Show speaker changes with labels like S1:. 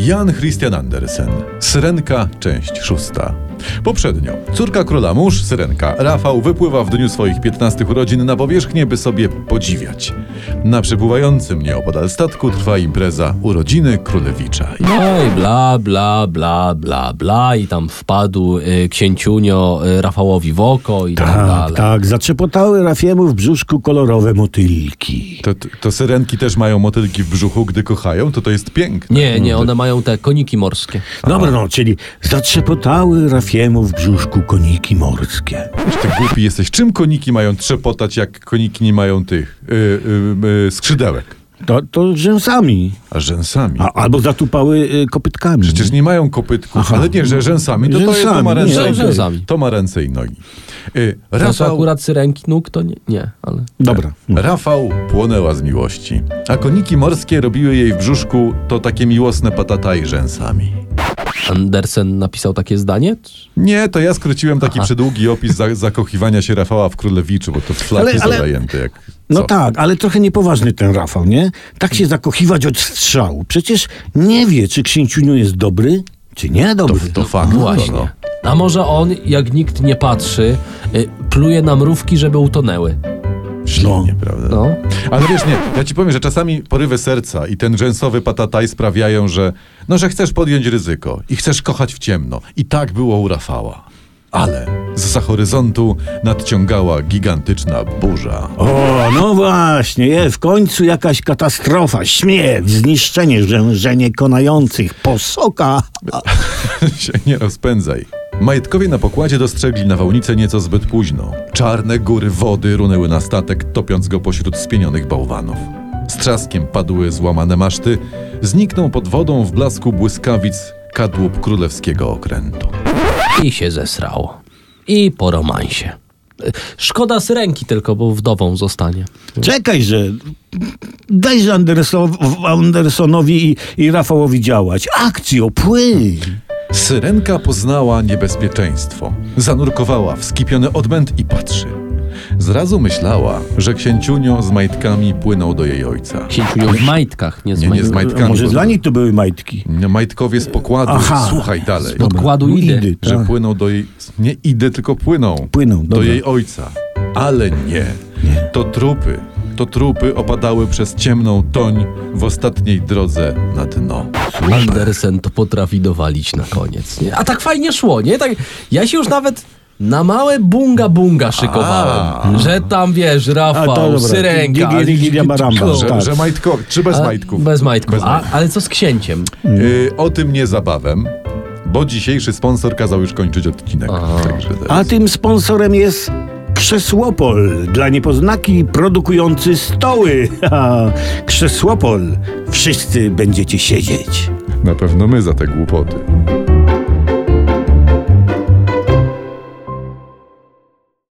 S1: Jan Christian Andersen. Syrenka, część szósta. Poprzednio córka króla mórz, Syrenka, Rafał, wypływa w dniu swoich 15 urodzin na powierzchnię, by sobie podziwiać. Na przepływającym nieopodal statku trwa impreza urodziny królewicza.
S2: No i bla, bla, bla, bla, bla i tam wpadł y, księciunio y, Rafałowi w oko i tak,
S3: Tak,
S2: dalej.
S3: tak. Zatrzepotały Rafiemu w brzuszku kolorowe motylki.
S1: To, to syrenki też mają motylki w brzuchu, gdy kochają, to to jest piękne.
S2: Nie, nie, one mają te koniki morskie.
S3: Dobra, no, czyli zatrzepotały Rafiemu w brzuszku koniki morskie.
S1: Ty głupi jesteś. Czym koniki mają trzepotać, jak koniki nie mają tych y, y, y, skrzydełek?
S3: To, to rzęsami.
S1: A rzęsami.
S3: A, albo zatupały y, kopytkami.
S1: Przecież nie mają kopytków,
S3: Aha.
S1: ale nie, że rzęsami, to, to, jest, to ma
S3: Rzęsami,
S1: ręce
S2: nie,
S1: i
S2: rzęsami.
S1: nogi. To ma ręce i nogi. Y,
S2: To są
S1: Rafał,
S2: akurat syrenki nóg, to nie, nie ale...
S3: Dobra.
S1: Rafał płonęła z miłości, a koniki morskie robiły jej w brzuszku to takie miłosne patataj rzęsami.
S2: Andersen napisał takie zdanie?
S1: Nie, to ja skróciłem taki przydługi opis za, zakochiwania się Rafała w Królewiczu, bo to w flacie
S3: Ale- ale-
S1: zajęte jak...
S3: No
S1: co?
S3: tak, ale trochę niepoważny ten Rafał, nie? Tak się zakochiwać od strzału. Przecież nie wie, czy księciuniu jest dobry, czy nie dobry.
S1: To fakt.
S2: Właśnie.
S1: No.
S2: A może on, jak nikt nie patrzy, y, pluje na mrówki, żeby utonęły.
S3: No.
S1: Ślicznie, prawda?
S2: No.
S1: Ale wiesz, nie, ja ci powiem, że czasami porywy serca i ten rzęsowy patataj sprawiają, że no, że chcesz podjąć ryzyko i chcesz kochać w ciemno. I tak było u Rafała. Ale z za horyzontu nadciągała gigantyczna burza.
S3: O, no właśnie, je, w końcu jakaś katastrofa, śmierć, zniszczenie, rzężenie konających, posoka.
S1: się nie rozpędzaj. Majtkowie na pokładzie dostrzegli nawałnicę nieco zbyt późno. Czarne góry wody runęły na statek, topiąc go pośród spienionych bałwanów. Z trzaskiem padły złamane maszty, zniknął pod wodą w blasku błyskawic kadłub królewskiego okrętu.
S2: I się zesrało. I po romansie. Y, Szkoda syrenki tylko, bo wdową zostanie.
S3: Czekaj, że dajże Andersow- Andersonowi i, i Rafałowi działać. Akcjo, płyń!
S1: Syrenka poznała niebezpieczeństwo. Zanurkowała w skipiony odmęt i patrzy. Zrazu myślała, że księciunio z majtkami płynął do jej ojca.
S2: Księciunio w majtkach, nie z,
S1: Nie, nie z
S2: majtkami.
S1: majtkami.
S3: Może
S1: bo-
S3: dla nich to były majtki.
S1: No, Majtkowie z pokładu,
S3: Aha.
S1: słuchaj dalej.
S2: Pod kładu
S3: No
S2: idy.
S3: idy.
S1: Że
S3: tak.
S1: płyną do jej. Nie idę, tylko płyną.
S3: Płyną,
S1: Do
S3: dobra.
S1: jej ojca. Ale nie. To trupy. To trupy opadały przez ciemną toń w ostatniej drodze na dno.
S2: Andersen to potrafi dowalić na koniec. Nie? A tak fajnie szło, nie? Tak, ja się już nawet na małe bunga bunga szykowałem. Że tam wiesz, Rafał,
S3: A, to dobra.
S2: syrenka.
S3: Digi, digi, dia, baramba.
S2: No.
S1: Że,
S3: Tak.
S1: że majtkowie. Czy bez
S2: A,
S1: majtków?
S2: Bez majtków. A, ale co z księciem?
S1: Y, o tym nie zabawem, bo dzisiejszy sponsor kazał już kończyć odcinek. Także teraz-
S3: A tym sponsorem jest Krzesłopol, dla niepoznaki produkujący stoły. Krzesłopol, wszyscy będziecie siedzieć.
S1: Na pewno my za te głupoty.